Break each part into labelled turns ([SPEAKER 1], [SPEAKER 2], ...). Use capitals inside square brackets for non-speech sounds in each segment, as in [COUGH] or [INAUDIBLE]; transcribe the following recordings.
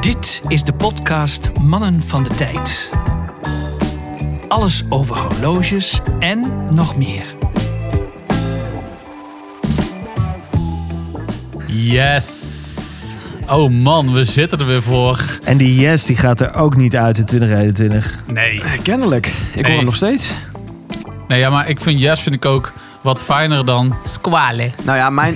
[SPEAKER 1] Dit is de podcast Mannen van de Tijd. Alles over horloges en nog meer.
[SPEAKER 2] Yes. Oh man, we zitten er weer voor.
[SPEAKER 3] En die yes die gaat er ook niet uit in 2021.
[SPEAKER 2] Nee.
[SPEAKER 4] Eh, Kennelijk. Ik hoor
[SPEAKER 2] Nee.
[SPEAKER 4] hem nog steeds.
[SPEAKER 2] Nee, ja, maar ik vind yes vind ik ook wat fijner dan squale.
[SPEAKER 4] Nou
[SPEAKER 3] [LAUGHS]
[SPEAKER 4] ja, mijn...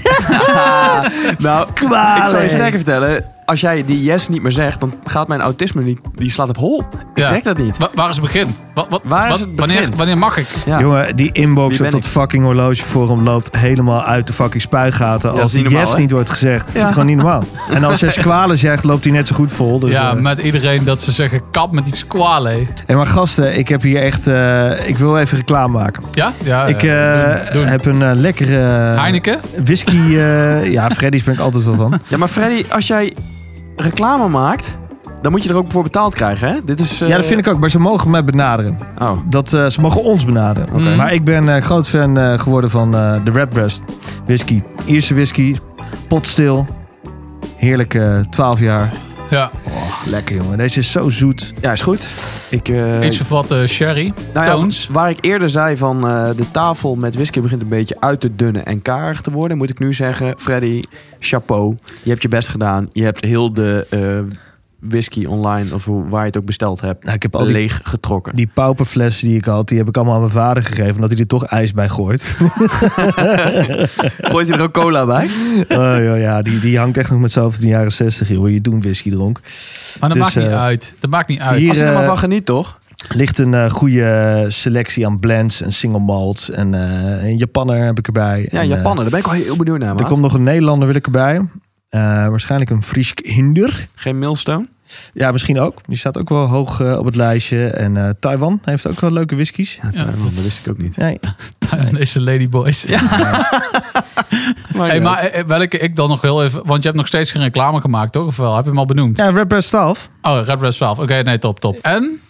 [SPEAKER 4] [LAUGHS] nou, ik zal je sterker vertellen. Als jij die yes niet meer zegt, dan gaat mijn autisme niet... Die slaat op hol. Ik
[SPEAKER 2] Ja.
[SPEAKER 4] trek dat niet.
[SPEAKER 2] Wa- waar is het begin? Wa- wa-
[SPEAKER 4] Waar is
[SPEAKER 2] wat-
[SPEAKER 4] het
[SPEAKER 2] Wanneer,
[SPEAKER 4] begin?
[SPEAKER 2] wanneer mag ik?
[SPEAKER 4] Ja.
[SPEAKER 3] Jongen, die inbox
[SPEAKER 4] Wie ben
[SPEAKER 3] op dat
[SPEAKER 4] ik?
[SPEAKER 3] fucking horlogeforum loopt helemaal uit de fucking spuigaten.
[SPEAKER 4] is
[SPEAKER 3] Als die
[SPEAKER 4] niet normaal,
[SPEAKER 3] yes
[SPEAKER 4] hè?
[SPEAKER 3] niet wordt gezegd, is het gewoon niet
[SPEAKER 4] [LAUGHS]
[SPEAKER 3] normaal. En als jij squalen zegt, loopt die net zo goed vol. Dus,
[SPEAKER 2] ja,
[SPEAKER 3] eh.
[SPEAKER 2] met iedereen dat ze zeggen kap met die squale.
[SPEAKER 3] Hé, maar gasten, ik heb hier echt... eh, ik wil even reclame maken.
[SPEAKER 4] Oh
[SPEAKER 2] Ja? Ja.
[SPEAKER 3] ik
[SPEAKER 2] ja.
[SPEAKER 3] eh,
[SPEAKER 2] Doen, doen.
[SPEAKER 3] heb een eh, lekkere
[SPEAKER 2] Heineken?
[SPEAKER 3] whisky... eh, ja, Freddy's ben ik altijd wel
[SPEAKER 4] [LAUGHS]
[SPEAKER 3] van.
[SPEAKER 4] Ja, maar Freddy, als jij reclame maakt... Dan moet je er ook voor betaald krijgen, hè? Dit is... eh,
[SPEAKER 3] Ja, dat vind ik ook. Maar ze mogen mij benaderen.
[SPEAKER 4] Oh.
[SPEAKER 3] Dat, eh, ze mogen ons benaderen.
[SPEAKER 2] Oké.
[SPEAKER 3] Maar ik ben eh, groot fan eh, geworden van eh, de Red Breast whisky. Ierse whisky, potstil. Heerlijk, eh 12 jaar.
[SPEAKER 2] Ja.
[SPEAKER 3] Lekker jongen, deze is zo zoet.
[SPEAKER 4] Ja, is goed. Ik... eh,
[SPEAKER 2] Iets of wat eh, sherry.
[SPEAKER 4] nou ja,
[SPEAKER 2] toons.
[SPEAKER 4] waar ik eerder zei van eh, de tafel met whisky begint een beetje uit te dunnen en karig te worden, moet ik nu zeggen, Freddy, chapeau. Je hebt je best gedaan. Je hebt heel de eh, whisky online of hoe- waar je het ook besteld hebt,
[SPEAKER 3] Nou, ik heb al die,
[SPEAKER 4] leeg getrokken.
[SPEAKER 3] die pauperflessen die ik had, die heb ik allemaal aan mijn vader gegeven. Omdat hij er toch ijs bij gooit.
[SPEAKER 4] Gooit je er ook cola bij?
[SPEAKER 3] oh, joh, ja, die, die hangt echt nog met zoveel van de jaren 60, joh. Je doen whisky dronk.
[SPEAKER 2] Maar dat
[SPEAKER 3] dus,
[SPEAKER 2] maakt niet
[SPEAKER 3] eh,
[SPEAKER 2] uit. Dat maakt niet uit.
[SPEAKER 3] hier-
[SPEAKER 4] Als je er
[SPEAKER 3] eh,
[SPEAKER 4] maar van geniet, toch?
[SPEAKER 3] Ligt een eh, goede selectie aan blends en single malts. En eh, een Japanner heb ik erbij.
[SPEAKER 4] Ja,
[SPEAKER 3] en, eh,
[SPEAKER 4] Japaner, daar ben ik wel heel benieuwd naar.
[SPEAKER 3] Er
[SPEAKER 4] maat.
[SPEAKER 3] komt nog een Nederlander wil ik erbij. Eh, waarschijnlijk een Friesk Hinder.
[SPEAKER 4] Geen milestone?
[SPEAKER 3] Ja, misschien ook. Die staat ook wel hoog eh, op het lijstje. En eh, Taiwan heeft ook wel leuke whiskies.
[SPEAKER 4] Ja, Taiwan, dat wist ik ook niet. [LAUGHS]
[SPEAKER 3] Nee.
[SPEAKER 2] [LAUGHS] Deze ladyboys.
[SPEAKER 4] Maar,
[SPEAKER 2] Hey,
[SPEAKER 4] ja.
[SPEAKER 2] maar eh, welke ik dan nog heel even... Want je hebt nog steeds geen reclame gemaakt, toch? Of wel? Heb je hem al benoemd?
[SPEAKER 3] Ja, Red Breast 12.
[SPEAKER 2] Oh, Red Breast 12. Oké, nee, top, top. En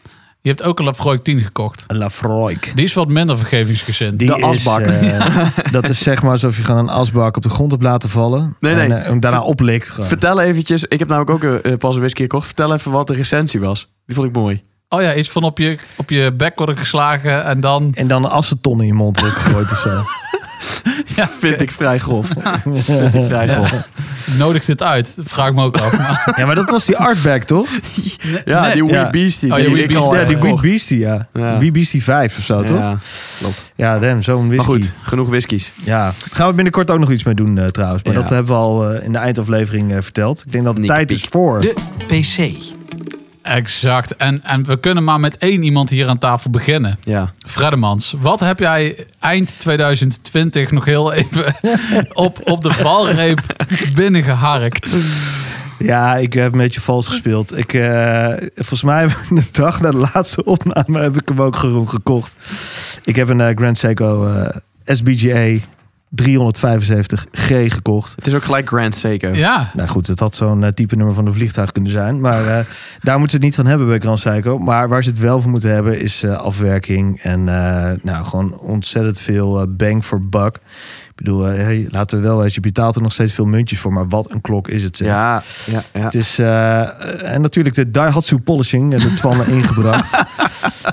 [SPEAKER 2] je hebt ook een Lafroy 10 gekocht.
[SPEAKER 3] Lafroik.
[SPEAKER 2] Die is wat minder vergevingsgezind.
[SPEAKER 3] Die
[SPEAKER 4] De
[SPEAKER 3] is,
[SPEAKER 4] asbak.
[SPEAKER 3] eh,
[SPEAKER 4] [LAUGHS]
[SPEAKER 3] dat is zeg maar alsof je gewoon een asbak op de grond hebt laten vallen.
[SPEAKER 4] Nee,
[SPEAKER 3] En
[SPEAKER 4] nee.
[SPEAKER 3] eh, hem daarna oplikt. gewoon.
[SPEAKER 4] Vertel eventjes, ik heb namelijk ook eh, eh, pas een whisky gekocht. Vertel even wat de recensie was. Die vond ik mooi.
[SPEAKER 2] Oh ja, iets van op je, op je bek worden geslagen en dan...
[SPEAKER 3] [LAUGHS] En dan een aceton in je mond wordt gegooid of
[SPEAKER 4] [LAUGHS]
[SPEAKER 3] zo.
[SPEAKER 2] Ja,
[SPEAKER 4] Vind ik vrij grof. [LAUGHS] Vind ik vrij grof.
[SPEAKER 2] Nodig dit uit? Dat Vraag ik me ook af. Maar,
[SPEAKER 3] Ja, maar dat was die artback, toch?
[SPEAKER 4] Ja,
[SPEAKER 2] Nee.
[SPEAKER 4] die Wee
[SPEAKER 3] Ja.
[SPEAKER 4] Beastie.
[SPEAKER 2] Oh, ja,
[SPEAKER 4] die
[SPEAKER 2] Wee
[SPEAKER 4] ik
[SPEAKER 2] Beastie,
[SPEAKER 4] al
[SPEAKER 3] ja,
[SPEAKER 4] heb
[SPEAKER 3] die Wee
[SPEAKER 4] gekocht.
[SPEAKER 3] Beastie, ja.
[SPEAKER 4] Ja.
[SPEAKER 3] Wee Beastie 5 of zo, toch?
[SPEAKER 4] Ja, klopt.
[SPEAKER 3] Ja, damn, zo'n
[SPEAKER 4] Maar
[SPEAKER 3] whisky.
[SPEAKER 4] goed, genoeg whiskies.
[SPEAKER 3] Ja, daar gaan we binnenkort ook nog iets mee doen eh, trouwens. Maar
[SPEAKER 4] Ja.
[SPEAKER 3] dat hebben we al eh, in de eindaflevering eh, verteld. Ik denk dat het
[SPEAKER 4] Sneak
[SPEAKER 3] tijd
[SPEAKER 4] peek.
[SPEAKER 3] is voor.
[SPEAKER 1] De PC.
[SPEAKER 2] exact. En, en we kunnen maar met één iemand hier aan tafel beginnen.
[SPEAKER 4] Ja.
[SPEAKER 2] Freddemans, wat heb jij eind 2020 nog heel even op, op de valreep binnengeharkt?
[SPEAKER 3] Ja, ik heb een beetje vals gespeeld. Ik, eh, volgens mij heb ik de dag na de laatste opname heb ik hem ook gewoon gekocht. Ik heb een eh, Grand Seiko eh, SBGA 375G gekocht.
[SPEAKER 4] Het is ook gelijk Grand Seiko.
[SPEAKER 2] Ja,
[SPEAKER 3] Nou goed, het had zo'n eh, type nummer van een vliegtuig kunnen zijn. Maar eh, daar moeten ze het niet van hebben bij Grand Seiko. Maar waar ze het wel voor moeten hebben is eh, afwerking. En eh, nou, gewoon ontzettend veel eh, bang for buck. Ik bedoel, eh, hey, laten we wel eens, je betaalt er nog steeds veel muntjes voor. Maar wat een klok is het zeg.
[SPEAKER 4] Ja, ja, ja.
[SPEAKER 3] Het is, eh, en natuurlijk de Daihatsu Polishing en de Twannen ingebracht.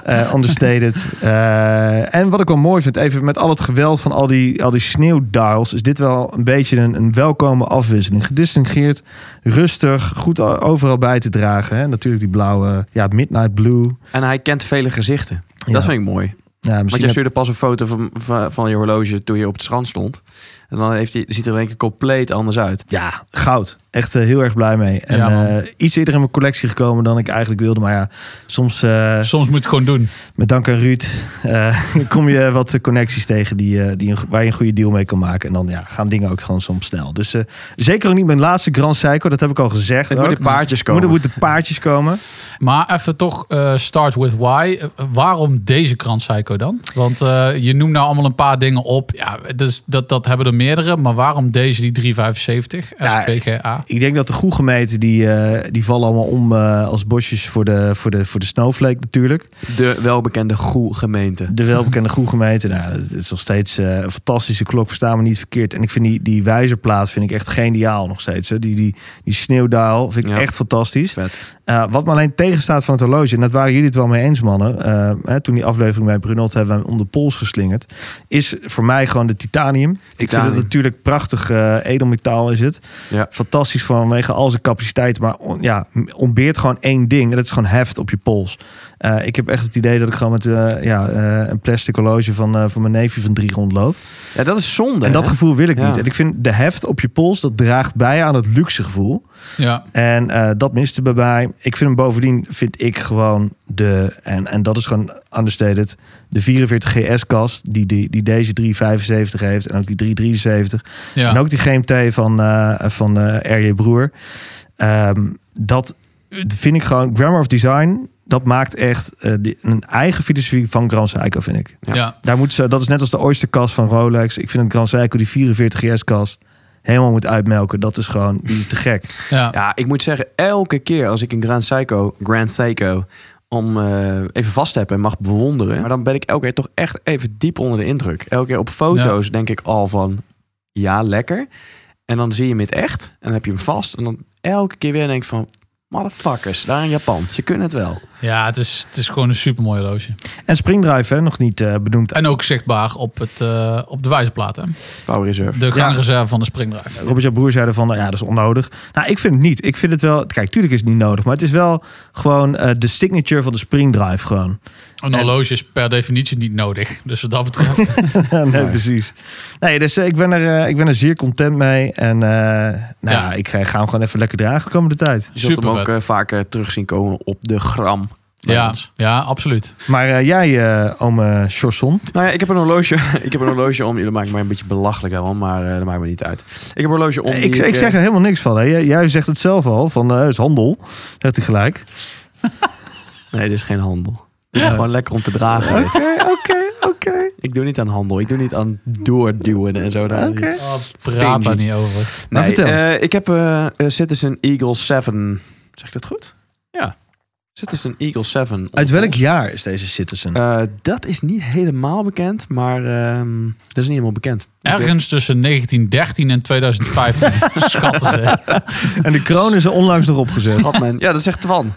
[SPEAKER 3] Eh understated. Eh, en wat ik wel mooi vind, even met al het geweld van al die, al die sneeuwdials... is dit wel een beetje een, een welkome afwisseling. Gedistingeerd, rustig, goed o- overal bij te dragen. Hè. Natuurlijk die blauwe, ja, Midnight Blue.
[SPEAKER 4] En hij kent vele gezichten.
[SPEAKER 3] Ja.
[SPEAKER 4] Dat vind ik mooi.
[SPEAKER 3] Ja,
[SPEAKER 4] Want
[SPEAKER 3] misschien
[SPEAKER 4] jij
[SPEAKER 3] heb-
[SPEAKER 4] stuurde pas een foto van, van, van je horloge toen je op het strand stond. En dan heeft hij, ziet er in één keer compleet anders uit.
[SPEAKER 3] Ja, goud. Echt eh, heel erg blij mee. En
[SPEAKER 2] Ja, man.
[SPEAKER 3] eh, iets eerder in mijn collectie gekomen dan ik eigenlijk wilde. Maar ja, soms... eh,
[SPEAKER 2] soms moet je het gewoon doen.
[SPEAKER 3] Met dank aan Ruud eh, [LAUGHS] kom je wat connecties tegen die, eh, die een, waar je een goede deal mee kan maken. En dan ja, gaan dingen ook gewoon soms snel. Dus eh, zeker ook niet mijn laatste Grand Seiko. Dat heb ik al gezegd.
[SPEAKER 4] Het
[SPEAKER 3] ook.
[SPEAKER 4] moet in paardjes komen.
[SPEAKER 3] Moet- er moeten paardjes komen.
[SPEAKER 2] Maar even toch eh, start with why. Eh, waarom deze krant Psycho dan? Want eh, je noemt nou allemaal een paar dingen op. Ja, dus dat, dat hebben er meerdere, maar waarom deze die 375
[SPEAKER 3] Ja,
[SPEAKER 2] SPGA?
[SPEAKER 3] Ik denk dat de goed gemeten, die, eh, die vallen allemaal om eh, als bosjes voor de, voor, de, voor de snowflake natuurlijk.
[SPEAKER 4] De welbekende goe gemeente.
[SPEAKER 3] De welbekende goed gemeten, nou, dat is nog steeds eh, een fantastische klok, verstaan me niet verkeerd. En ik vind die, die wijzerplaat vind ik echt geniaal nog steeds. Hè. Die, die, die sneeuwdaal vind ik
[SPEAKER 4] Ja.
[SPEAKER 3] echt fantastisch.
[SPEAKER 4] Vet.
[SPEAKER 3] Eh, wat me alleen tegenstaat van het horloge, en dat waren jullie het wel mee eens, mannen. eh, hè, toen die aflevering bij Brunot hebben we hem om de pols geslingerd. Is voor mij gewoon de titanium. Ik vind
[SPEAKER 4] Titanium.
[SPEAKER 3] het natuurlijk prachtig eh, edelmetaal is het.
[SPEAKER 4] Ja.
[SPEAKER 3] Fantastisch vanwege al zijn capaciteit. Maar on- ja, m- ontbeert gewoon één ding. En dat is gewoon heft op je pols. Eh, ik heb echt het idee dat ik gewoon met eh, ja, eh, een plastic horloge van, eh, van mijn neefje van drie rondloop.
[SPEAKER 4] ja, dat is zonde.
[SPEAKER 3] En dat
[SPEAKER 4] hè?
[SPEAKER 3] gevoel wil ik
[SPEAKER 4] Ja.
[SPEAKER 3] niet. En ik vind de heft op je pols, dat draagt bij aan het luxe gevoel.
[SPEAKER 2] Ja,
[SPEAKER 3] En eh, dat miste bij mij. Ik vind hem bovendien, vind ik gewoon de, en, en dat is gewoon understated, de 44 GS-kast die, die, die deze 375 heeft en ook die 373.
[SPEAKER 2] ja.
[SPEAKER 3] En ook die GMT van, eh, van eh, R.J. Broer. Ehm, dat vind ik gewoon, Grammar of Design, dat maakt echt eh, die- een eigen filosofie van Grand Seiko, vind ik.
[SPEAKER 2] ja. ja.
[SPEAKER 3] Daar moet ze, dat is net als de Oysterkast van Rolex. Ik vind het Grand Seiko, die 44 GS-kast, helemaal moet uitmelken. Dat is gewoon, die is te gek.
[SPEAKER 4] Ja, ik moet zeggen, elke keer als ik een Grand Seiko, Grand Seiko om eh, even vast te hebben en mag bewonderen. Maar dan ben ik elke keer toch echt even diep onder de indruk. Elke keer op foto's denk ik al van, ja, lekker. En dan zie je hem in het echt en dan heb je hem vast. En dan elke keer weer denk ik van, motherfuckers, daar in Japan. Ze kunnen het wel.
[SPEAKER 2] Ja, het, is, het is gewoon een supermooi horloge.
[SPEAKER 3] En Springdrive, hè, nog niet eh, benoemd.
[SPEAKER 2] En ook zichtbaar op, het, eh, op de wijzerplaat. hè.
[SPEAKER 4] Power Reserve.
[SPEAKER 2] De gangreserve van de springdrive.
[SPEAKER 3] Robert, jouw broer zei ervan, nou ja, dat is onnodig. Nou, ik vind het niet. Ik vind het wel... Kijk, tuurlijk is het niet nodig. Maar het is wel gewoon eh, de signature van de springdrive gewoon. [LAUGHS]
[SPEAKER 2] Een horloge is per definitie niet nodig. Dus wat dat betreft.
[SPEAKER 3] [LAUGHS] nee, precies. Nee, dus eh, ik, ben er, eh, ik ben er zeer content mee. En eh, nou,
[SPEAKER 2] Ja.
[SPEAKER 3] ja. ik ga, ga hem gewoon even lekker dragen de komende tijd.
[SPEAKER 4] Je zult hem
[SPEAKER 2] Super
[SPEAKER 4] ook
[SPEAKER 2] vet.
[SPEAKER 4] eh, vaker terug zien komen op de gram. bij
[SPEAKER 2] ja,
[SPEAKER 4] ons.
[SPEAKER 2] ja, absoluut.
[SPEAKER 3] Maar eh, jij, eh ome Chorson.
[SPEAKER 4] Nou ja, ik heb een horloge, [LAUGHS] ik heb een horloge om. Jullie maken mij een beetje belachelijk, hè, man, maar eh dat maakt me niet uit. Ik heb een horloge om. die
[SPEAKER 3] Ik, ik
[SPEAKER 4] eh,
[SPEAKER 3] zeg er helemaal niks van. Hè. Jij, jij zegt het zelf al, van eh, het is handel. Zegt hij gelijk.
[SPEAKER 4] Nee, dit is geen handel. Dit is gewoon lekker om te dragen.
[SPEAKER 3] Oké, oké, oké.
[SPEAKER 4] Ik doe niet aan handel. Ik doe niet aan doorduwen en zo. Daar.
[SPEAKER 3] Oké. Nou,
[SPEAKER 2] Oh, praat daar niet over.
[SPEAKER 4] Nee,
[SPEAKER 3] vertel.
[SPEAKER 4] eh, ik heb eh, eh, Citizen Eagle 7. Zeg ik dat goed? Ja. Citizen Eagle 7.
[SPEAKER 3] Uit welk jaar is deze Citizen?
[SPEAKER 4] Eh, dat is niet helemaal bekend, maar ehm, dat is niet helemaal bekend.
[SPEAKER 2] Ergens tussen 1913 en
[SPEAKER 3] [LAUGHS]
[SPEAKER 2] 2015 schatten ze.
[SPEAKER 3] En de kroon is er onlangs nog opgezet.
[SPEAKER 4] Had men, ja, dat zegt Twan.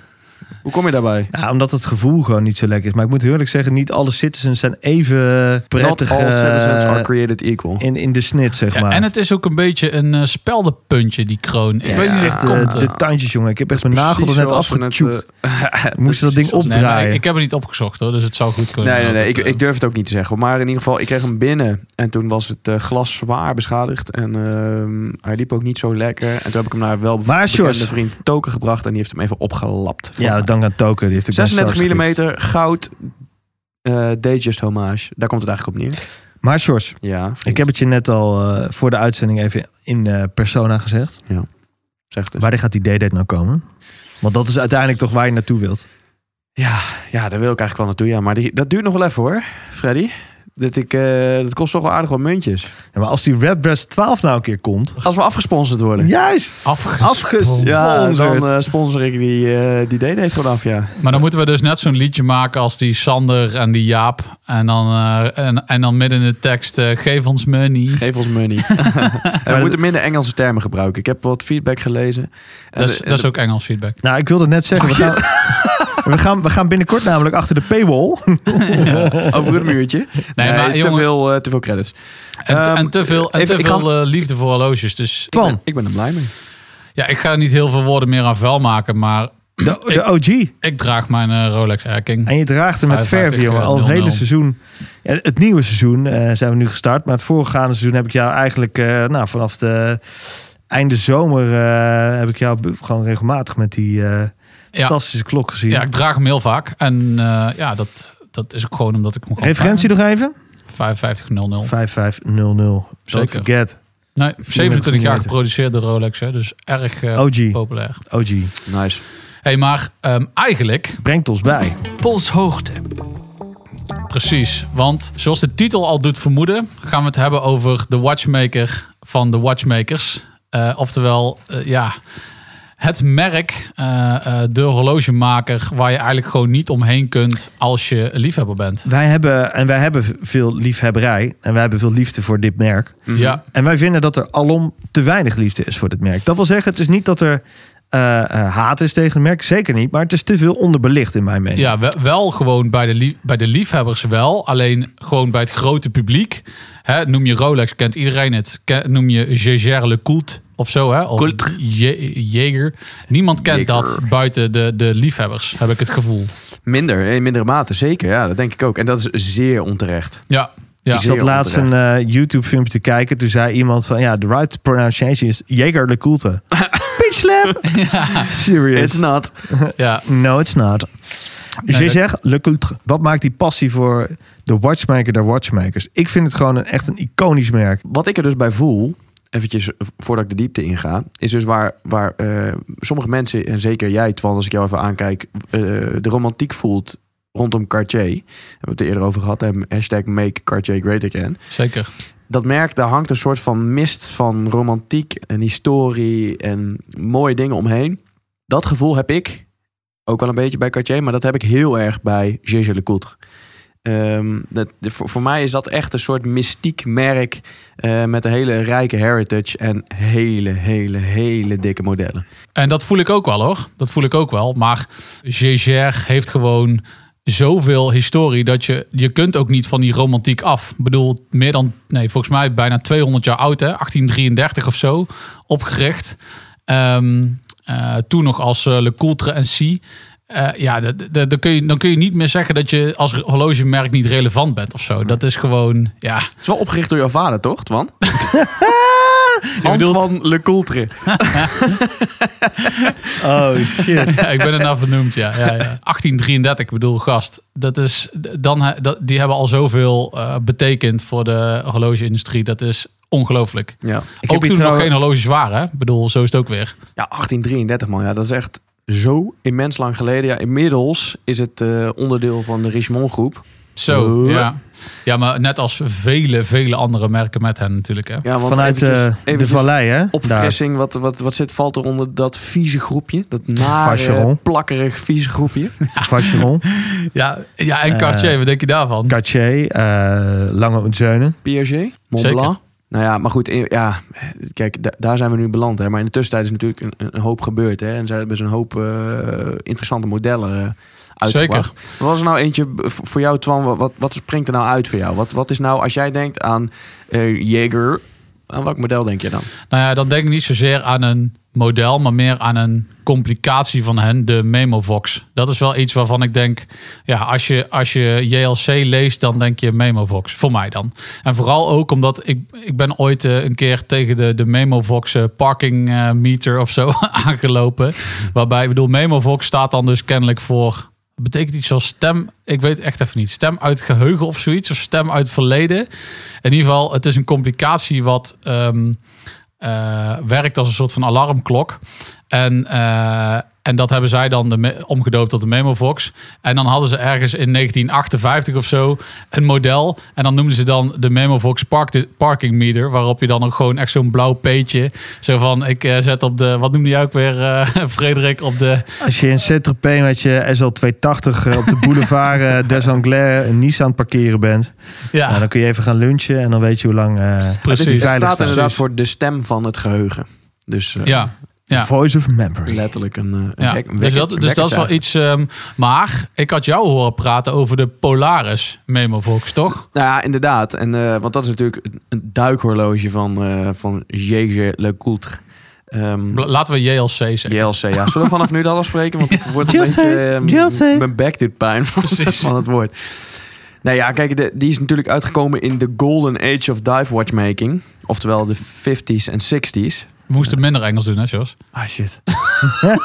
[SPEAKER 4] Hoe kom je daarbij?
[SPEAKER 3] Ja, omdat het gevoel gewoon niet zo lekker is. Maar ik moet heel eerlijk zeggen, niet alle citizens zijn even eh, prettig
[SPEAKER 4] Not all
[SPEAKER 3] eh,
[SPEAKER 4] citizens are created equal.
[SPEAKER 3] in, in de snit, zeg
[SPEAKER 2] Ja,
[SPEAKER 3] maar.
[SPEAKER 2] en het is ook een beetje een eh, speldenpuntje, die kroon. Ik
[SPEAKER 3] Ja,
[SPEAKER 2] weet niet
[SPEAKER 3] het is
[SPEAKER 2] echt
[SPEAKER 3] echt,
[SPEAKER 2] het
[SPEAKER 3] eh,
[SPEAKER 2] komt. eh.
[SPEAKER 3] de tandjes, jongen. Ik heb echt mijn nagel er net
[SPEAKER 4] Zoals we net,
[SPEAKER 3] afgetjoept.
[SPEAKER 4] eh, [LAUGHS]
[SPEAKER 3] Moest je dat ding
[SPEAKER 2] Nee, maar
[SPEAKER 3] opdraaien.
[SPEAKER 2] ik, ik heb het niet opgezocht hoor, dus het zou goed kunnen.
[SPEAKER 4] Nee, nee, nee. Ik,
[SPEAKER 2] Dat, eh,
[SPEAKER 4] ik durf het ook niet te zeggen. Maar in ieder geval, ik kreeg hem binnen. En toen was het eh, glas zwaar beschadigd. En ehm, hij liep ook niet zo lekker. En toen heb ik hem naar wel
[SPEAKER 3] Maar,
[SPEAKER 4] bekende
[SPEAKER 3] Sjors.
[SPEAKER 4] vriend Token gebracht. En die heeft hem even opgelapt. voor
[SPEAKER 3] Ja,
[SPEAKER 4] mij.
[SPEAKER 3] dank aan Token. Die heeft ook best
[SPEAKER 4] 36
[SPEAKER 3] zelfs
[SPEAKER 4] mm
[SPEAKER 3] gefixt.
[SPEAKER 4] goud. eh Datejust homage. Daar komt het eigenlijk op neer.
[SPEAKER 3] Maar Sjors,
[SPEAKER 4] Ja,
[SPEAKER 3] ik heb het je net al eh, voor de uitzending even in eh, persona gezegd.
[SPEAKER 4] zegt het.
[SPEAKER 3] Waar gaat die D-date nou komen? Want dat is uiteindelijk toch waar je naartoe wilt.
[SPEAKER 4] Ja, ja, daar wil ik eigenlijk wel naartoe. Ja, maar die, dat duurt nog wel even hoor, Freddy. Dat, ik, eh, dat kost toch wel aardig wat muntjes.
[SPEAKER 3] Ja, maar als die Redbreast 12 nou een keer komt...
[SPEAKER 4] Als we afgesponsord worden.
[SPEAKER 3] Juist!
[SPEAKER 2] afge-
[SPEAKER 3] Afges...
[SPEAKER 4] Ja, dan
[SPEAKER 3] gesponsord.
[SPEAKER 4] eh, sponsor ik die, eh, die D-Date gewoon af, ja.
[SPEAKER 2] Maar dan moeten we dus net zo'n liedje maken als die Sander en die Jaap. En dan, eh, en, en dan midden in de tekst, eh, geef ons money.
[SPEAKER 4] Geef ons [LAUGHS] money. En we
[SPEAKER 3] dat-
[SPEAKER 4] moeten minder Engelse termen gebruiken. Ik heb wat feedback gelezen. En
[SPEAKER 2] Dat is,
[SPEAKER 4] de-
[SPEAKER 2] dat is ook Engels feedback.
[SPEAKER 3] Nou, ik wilde net zeggen, we, gaan, we, gaan, we gaan binnenkort namelijk achter de paywall.
[SPEAKER 4] over het muurtje.
[SPEAKER 2] [LAUGHS] Nee,
[SPEAKER 4] Nee,
[SPEAKER 2] maar
[SPEAKER 4] te,
[SPEAKER 2] jongen-
[SPEAKER 4] veel, eh, te veel credits.
[SPEAKER 2] En, te-
[SPEAKER 4] Ehm,
[SPEAKER 2] en te veel, en
[SPEAKER 4] even-
[SPEAKER 2] te
[SPEAKER 4] ik ga-
[SPEAKER 2] veel eh, liefde voor horloges. Dus
[SPEAKER 3] Twan,
[SPEAKER 4] Ik ben er blij mee.
[SPEAKER 2] ja, ik ga er niet heel veel woorden meer aan vuil maken. Maar
[SPEAKER 3] [LAUGHS] de, de OG.
[SPEAKER 2] ik draag mijn eh, Rolex Erking.
[SPEAKER 3] En je draagt hem met
[SPEAKER 2] 55,
[SPEAKER 3] verf, jongen. Al het
[SPEAKER 2] eh, 0-0.
[SPEAKER 3] hele seizoen. Ja, het nieuwe seizoen eh, zijn we nu gestart. Maar het voorgaande seizoen heb ik jou eigenlijk eh, nou, vanaf de einde zomer... eh, heb ik jou b- gewoon regelmatig met die eh,
[SPEAKER 2] Ja,
[SPEAKER 3] fantastische klok gezien.
[SPEAKER 2] ja, ik draag hem heel vaak. En eh, ja, dat, dat is ook gewoon omdat ik hem gewoon
[SPEAKER 3] Referentie nog even?
[SPEAKER 2] draag. 5500.
[SPEAKER 3] 5500. Don't
[SPEAKER 2] Zeker.
[SPEAKER 3] forget.
[SPEAKER 2] Nee, 27 jaar
[SPEAKER 3] millimeter.
[SPEAKER 2] geproduceerd door Rolex. Hè, dus erg eh,
[SPEAKER 3] OG.
[SPEAKER 2] populair.
[SPEAKER 3] OG.
[SPEAKER 4] Nice.
[SPEAKER 2] hey, maar ehm, eigenlijk
[SPEAKER 3] Brengt ons bij.
[SPEAKER 1] polshoogte.
[SPEAKER 2] Precies, want zoals de titel al doet vermoeden, gaan we het hebben over de watchmaker van de watchmakers. Eh, oftewel, eh, ja, het merk, eh, eh, de horlogemaker, waar je eigenlijk gewoon niet omheen kunt als je liefhebber bent.
[SPEAKER 3] Wij hebben, en wij hebben veel liefhebberij. En wij hebben veel liefde voor dit merk.
[SPEAKER 2] Ja,
[SPEAKER 3] En wij vinden dat er alom te weinig liefde is voor dit merk. Dat wil zeggen, het is niet dat er eh, eh, haat is tegen het merk. Zeker niet. Maar het is te veel onderbelicht in mijn mening.
[SPEAKER 2] ja we- wel gewoon bij de, lief- bij de liefhebbers wel, alleen gewoon bij het grote publiek. Hè, noem je Rolex, kent iedereen het. Ken- noem je Jaeger Le Coultre of zo, hè? Of
[SPEAKER 4] Coultre.
[SPEAKER 2] Je- Jaeger. Niemand kent
[SPEAKER 4] Jaeger.
[SPEAKER 2] dat buiten de, de liefhebbers, heb ik het gevoel.
[SPEAKER 4] Minder, in mindere mate, zeker. Ja, dat denk ik ook. En dat is zeer onterecht.
[SPEAKER 2] Ja, ja.
[SPEAKER 3] Ik zat
[SPEAKER 4] Zeer
[SPEAKER 3] laatst een eh, YouTube-filmpje te kijken. Toen zei iemand van, ja, the right pronunciation is Jaeger
[SPEAKER 2] [LAUGHS]
[SPEAKER 3] de Koelte. Bitch slap! Serious.
[SPEAKER 4] It's not.
[SPEAKER 2] ja.
[SPEAKER 3] No, it's not. Dus
[SPEAKER 2] Nee,
[SPEAKER 3] Je
[SPEAKER 2] dat-
[SPEAKER 3] zegt, le Coultre. Wat maakt die passie voor de watchmaker der watchmakers? Ik vind het gewoon een, echt een iconisch merk.
[SPEAKER 4] Wat ik er dus bij voel, eventjes voordat ik de diepte inga, is dus waar, waar eh, sommige mensen, en zeker jij Twan, als ik jou even aankijk, eh, de romantiek voelt rondom Cartier. Daar Hebben we het er eerder over gehad, hè? hashtag make Cartier great again.
[SPEAKER 2] Zeker.
[SPEAKER 4] dat merk, daar hangt een soort van mist van romantiek en historie en mooie dingen omheen. Dat gevoel heb ik ook wel een beetje bij Cartier, maar dat heb ik heel erg bij Gégé Lecoultre. Ehm, dat, de- voor, voor mij is dat echt een soort mystiek merk eh, met een hele rijke heritage en hele, hele, hele dikke modellen.
[SPEAKER 2] En dat voel ik ook wel hoor. Dat voel ik ook wel. Maar Jaeger heeft gewoon zoveel historie dat je, je kunt ook niet van die romantiek af. Ik bedoel, meer dan, nee, volgens mij bijna 200 jaar oud hè, 1833 of zo, opgericht. Ehm, eh, toen nog als eh, Le Coultre en C. Eh, ja, dat- dat- dat kun je, dan kun je niet meer zeggen dat je als horlogemerk niet relevant bent of zo. Dat is gewoon, ja.
[SPEAKER 4] Het is wel opgericht door jouw vader, toch, Twan? [LAUGHS]
[SPEAKER 2] bedoelt-
[SPEAKER 4] Antoine Lecoultre.
[SPEAKER 3] Oh, [LAUGHS]
[SPEAKER 2] [LAUGHS]
[SPEAKER 3] shit.
[SPEAKER 2] ja, ik ben ernaar vernoemd, ja. ja, ja. 1833, ik bedoel, gast. Dat is, dan, he- dat, die hebben al zoveel eh, betekend voor de horlogeindustrie. Dat is ongelooflijk.
[SPEAKER 4] Ja.
[SPEAKER 3] Ik
[SPEAKER 2] Ook
[SPEAKER 3] heb hier
[SPEAKER 2] toen nog
[SPEAKER 3] trouwens-
[SPEAKER 2] geen horloges waren, hè? Ik bedoel, zo is het ook weer.
[SPEAKER 4] Ja, 1833 man. Ja, dat is echt zo immens lang geleden. Ja, inmiddels is het eh, onderdeel van de Richemont groep.
[SPEAKER 2] Zo,
[SPEAKER 4] Oh.
[SPEAKER 2] ja. Ja, maar net als vele, vele andere merken met hen natuurlijk, hè.
[SPEAKER 4] Ja, want
[SPEAKER 3] Vanuit eh,
[SPEAKER 4] eventjes-
[SPEAKER 3] de
[SPEAKER 4] eventjes
[SPEAKER 3] vallei, hè? Daar.
[SPEAKER 4] Opfrissing, wat, wat, wat zit, valt er onder dat vieze groepje? Dat
[SPEAKER 3] [LAUGHS]
[SPEAKER 4] nare,
[SPEAKER 3] Vacheron.
[SPEAKER 4] plakkerig, vieze groepje.
[SPEAKER 2] [LAUGHS]
[SPEAKER 3] Vacheron,
[SPEAKER 2] Ja, ja
[SPEAKER 3] Eh.
[SPEAKER 2] en Cartier, wat denk je daarvan?
[SPEAKER 3] Cartier, eh, Lange Ontzeunen.
[SPEAKER 4] Piaget, Montblanc. Nou ja, maar goed, in- ja, kijk, da- daar zijn we nu beland. Hè. Maar in de tussentijd is natuurlijk een, een hoop gebeurd. Hè. En ze hebben ze een hoop eh, interessante modellen eh, uitgebracht. Wat was er nou eentje b- v- voor jou, Twan? Wat, wat, wat springt er nou uit voor jou? Wat, wat is nou, als jij denkt aan eh Jaeger, aan welk model denk je dan?
[SPEAKER 2] Nou ja, dan denk ik niet zozeer aan een model, maar meer aan een complicatie van hen, de Memovox. Dat is wel iets waarvan ik denk, ja, als je, als je JLC leest, dan denk je Memovox. Voor mij dan. En vooral ook omdat ik, ik ben ooit eh, een keer tegen de, de Memovox eh, parking eh, meter of zo [LAUGHS] aangelopen. Waarbij, ik bedoel, Memovox staat dan dus kennelijk voor... Betekent iets als stem, ik weet echt even niet, stem uit geheugen of zoiets, of stem uit verleden. In ieder geval, het is een complicatie wat ehm, eh, werkt als een soort van alarmklok. En, eh, en dat hebben zij dan de me- omgedoopt tot de Memovox. En dan hadden ze ergens in 1958 of zo een model. En dan noemden ze dan de Memovox park, parking meter. Waarop je dan ook gewoon echt zo'n blauw peetje. Zo van, ik eh, zet op de, wat noemde jij ook weer eh, [LAUGHS] Frederik? Op de,
[SPEAKER 3] Als je in Saint-Tropez met je SL280 eh, op de boulevard eh, des Anglais een Nissan parkeren bent.
[SPEAKER 2] ja,
[SPEAKER 3] Nou, dan kun je even gaan lunchen en dan weet je hoe lang... eh,
[SPEAKER 4] Het, is,
[SPEAKER 2] precies.
[SPEAKER 4] het
[SPEAKER 3] Veilig
[SPEAKER 4] staat
[SPEAKER 3] staan.
[SPEAKER 4] inderdaad voor de stem van het geheugen. Dus eh,
[SPEAKER 2] Ja. Ja.
[SPEAKER 3] Voice of memory.
[SPEAKER 4] letterlijk een, eh, een
[SPEAKER 2] Ja,
[SPEAKER 4] hek- een
[SPEAKER 2] dus
[SPEAKER 4] wekker-
[SPEAKER 2] dat,
[SPEAKER 4] een
[SPEAKER 2] dus dat is wel
[SPEAKER 4] wekkertje
[SPEAKER 2] iets. ehm, maar ik had jou horen praten over de Polaris Memovox, toch?
[SPEAKER 4] Nou ja, inderdaad. En, eh, want dat is natuurlijk een- een duikhorloge van, eh van J.J. Le Coultre. Ehm,
[SPEAKER 2] Bla- Laten we JLC zeggen.
[SPEAKER 4] JLC, ja. [LAUGHS] Zullen we vanaf nu dat afspreken? Want het wordt een
[SPEAKER 3] JLC,
[SPEAKER 4] beetje... eh, m-
[SPEAKER 3] JLC.
[SPEAKER 4] Mijn bek doet pijn van, van het woord. Nou ja, kijk, de- die is natuurlijk uitgekomen in de golden age of dive watchmaking. Oftewel de 50s en 60s.
[SPEAKER 2] We moesten minder Engels doen, hè, Jos?
[SPEAKER 4] Ah, shit.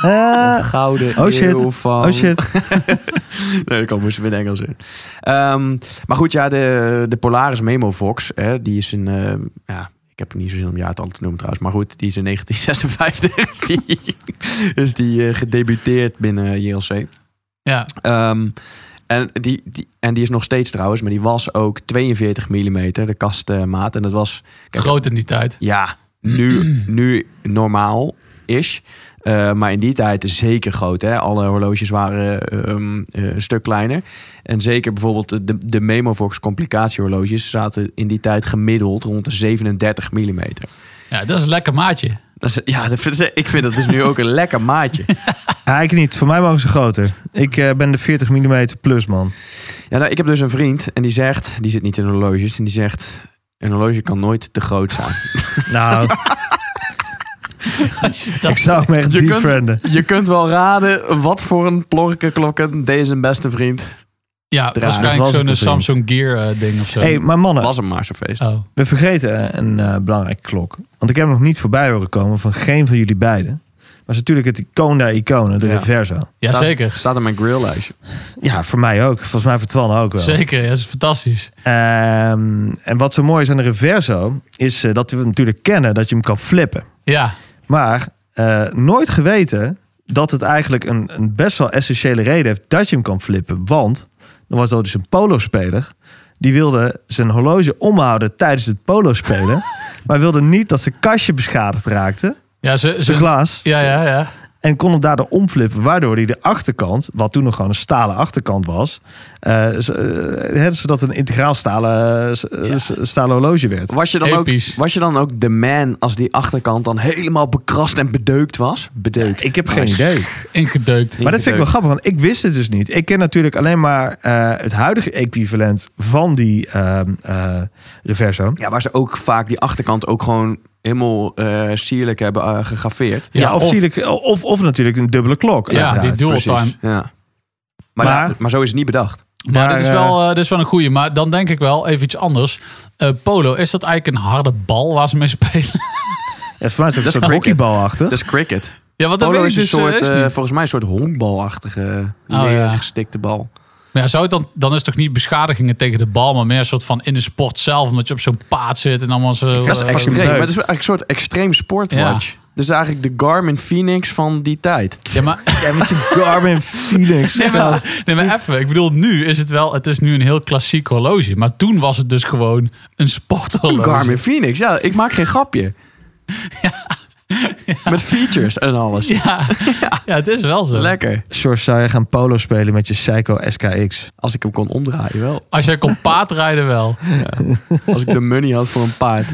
[SPEAKER 3] Ah,
[SPEAKER 4] Gouden
[SPEAKER 3] Oh, shit.
[SPEAKER 4] eeuw van...
[SPEAKER 3] [LAUGHS] oh shit.
[SPEAKER 4] Nee, dat kan moest er weer in Engels in. Ehm, maar goed, ja, de, de Polaris Memo Fox, hè, die is een... eh, ja, ik heb er niet zozeer om jaartal te noemen trouwens. Maar goed, die is in 1956 [LAUGHS] is die, is die eh, gedebuteerd binnen JLC.
[SPEAKER 2] Ja,
[SPEAKER 4] Ehm, En die, die, en die is nog steeds trouwens, maar die was ook 42 mm, de kastmaat. En dat was... kijk,
[SPEAKER 2] Groot in die tijd.
[SPEAKER 4] Ja, nu, nu normaal is. Eh, maar in die tijd zeker groot. Hè? Alle horloges waren eh, ehm, eh, een stuk kleiner. En zeker bijvoorbeeld de, de Memovox complicatiehorloges zaten in die tijd gemiddeld rond de 37 mm.
[SPEAKER 2] Ja, dat is een lekker maatje.
[SPEAKER 4] Dat is, ja, dat vind ik ik vind dat dus nu ook een [LAUGHS] lekker maatje.
[SPEAKER 3] Ah, ik niet. Voor mij mogen ze groter. Ik eh, ben de 40 mm plus man.
[SPEAKER 4] Ja, nou, ik heb dus een vriend en die zegt, die zit niet in horloges, en die zegt, een horloge kan nooit te groot zijn.
[SPEAKER 3] Nou,
[SPEAKER 4] [LAUGHS]
[SPEAKER 2] Dat
[SPEAKER 3] ik zou hem echt
[SPEAKER 4] Je kunt-
[SPEAKER 3] defrienden.
[SPEAKER 4] Je kunt wel raden wat voor een plorke klokken deze beste vriend.
[SPEAKER 2] Ja,
[SPEAKER 4] Draai.
[SPEAKER 3] Dat
[SPEAKER 2] waarschijnlijk
[SPEAKER 3] was
[SPEAKER 2] zo'n
[SPEAKER 3] het
[SPEAKER 2] eh, Samsung Gear eh, ding of zo.
[SPEAKER 3] hey, maar mannen,
[SPEAKER 4] Was hem maar zo'n feest.
[SPEAKER 2] Oh.
[SPEAKER 3] we vergeten een eh, belangrijke klok. Want ik heb hem nog niet voorbij horen komen van geen van jullie beiden. Maar het is natuurlijk het icoon der iconen, de
[SPEAKER 4] Ja.
[SPEAKER 3] Reverso.
[SPEAKER 2] Jazeker.
[SPEAKER 4] Staat, staat in mijn grilllijstje.
[SPEAKER 3] Ja, voor mij ook. Volgens mij voor Twan ook wel.
[SPEAKER 2] Zeker, ja, dat is fantastisch.
[SPEAKER 3] Ehm, en wat zo mooi is aan de Reverso, is eh, dat we natuurlijk kennen dat je hem kan flippen.
[SPEAKER 2] Ja,
[SPEAKER 3] Maar eh, nooit geweten dat het eigenlijk een, een best wel essentiële reden heeft dat je hem kan flippen. Want er was al dus een polospeler. Die wilde zijn horloge omhouden tijdens het polospelen. maar wilde niet dat zijn kastje beschadigd raakte.
[SPEAKER 2] ja, ze,
[SPEAKER 3] Zijn
[SPEAKER 2] ze,
[SPEAKER 3] glaas.
[SPEAKER 2] ja, ja, ja.
[SPEAKER 3] En kon hem daardoor omflippen. Waardoor hij de achterkant, wat toen nog gewoon een stalen achterkant was. eh, z- eh, hè, zodat het een integraal stalen, eh, s- eh, s- stalen horloge werd.
[SPEAKER 4] Was je, dan ook,
[SPEAKER 2] Episch.
[SPEAKER 4] was je dan ook de man als die achterkant dan helemaal bekrast en bedeukt was? Bedeukt.
[SPEAKER 3] Ik heb geen
[SPEAKER 4] Nice.
[SPEAKER 3] idee.
[SPEAKER 2] ingedeukt.
[SPEAKER 3] Maar dat vind ik wel grappig, want ik wist het dus niet. Ik ken natuurlijk alleen maar eh, het huidige equivalent van die ehm, eh, Reverso.
[SPEAKER 4] Ja, waar ze ook vaak die achterkant ook gewoon helemaal eh, sierlijk hebben eh, gegraveerd.
[SPEAKER 3] Ja, of,
[SPEAKER 2] of-
[SPEAKER 3] zie ik- of, of natuurlijk een dubbele klok.
[SPEAKER 2] Ja,
[SPEAKER 3] uiteraard.
[SPEAKER 2] die dual
[SPEAKER 4] Precies.
[SPEAKER 2] time.
[SPEAKER 4] Ja. Maar,
[SPEAKER 3] Maar-
[SPEAKER 4] ja, maar zo is het niet bedacht.
[SPEAKER 2] Maar,
[SPEAKER 3] Maar,
[SPEAKER 2] dat, is
[SPEAKER 3] eh,
[SPEAKER 2] wel, eh, dat is wel een goeie. Maar dan denk ik wel even iets anders. Eh, polo, is dat eigenlijk een harde bal waar ze mee spelen? [LAUGHS]
[SPEAKER 3] Ja, voor mij is het ook
[SPEAKER 4] Dat is
[SPEAKER 3] een soort
[SPEAKER 4] cricket.
[SPEAKER 3] hockeybal achter.
[SPEAKER 4] Dat is cricket.
[SPEAKER 2] ja, wat dat
[SPEAKER 4] Polo
[SPEAKER 2] weet ik
[SPEAKER 4] is een
[SPEAKER 2] dus eh,
[SPEAKER 4] soort,
[SPEAKER 2] is
[SPEAKER 4] eh,
[SPEAKER 2] niet.
[SPEAKER 4] volgens mij een soort honkbalachtige,
[SPEAKER 2] Oh, ja.
[SPEAKER 4] leer gestikte bal.
[SPEAKER 2] Maar ja, zou het dan, dan is het toch niet beschadigingen tegen de bal, maar meer een soort van in de sport zelf, omdat je op zo'n paard zit en allemaal zo.
[SPEAKER 4] Dat is
[SPEAKER 2] eh,
[SPEAKER 4] extreem.
[SPEAKER 3] leuk.
[SPEAKER 4] Maar dat is eigenlijk een soort extreem sportwatch. Dus eigenlijk de Garmin Phoenix van die tijd.
[SPEAKER 2] Ja, maar,
[SPEAKER 3] [LAUGHS] Ja, met je Garmin Phoenix.
[SPEAKER 2] nee, maar, nee, maar even. Ik bedoel, nu is het wel, het is nu een heel klassiek horloge, maar toen was het dus gewoon een sporthorloge.
[SPEAKER 4] Garmin Phoenix, ja, ik maak geen grapje. Met features en alles.
[SPEAKER 2] [LAUGHS] Ja, ja, het is wel zo.
[SPEAKER 4] Lekker.
[SPEAKER 3] George, zou je gaan polo spelen met je Psycho SKX?
[SPEAKER 4] Als ik hem kon omdraaien wel.
[SPEAKER 2] Als jij kon paardrijden wel.
[SPEAKER 4] Als ik [LAUGHS] de money had voor een paard.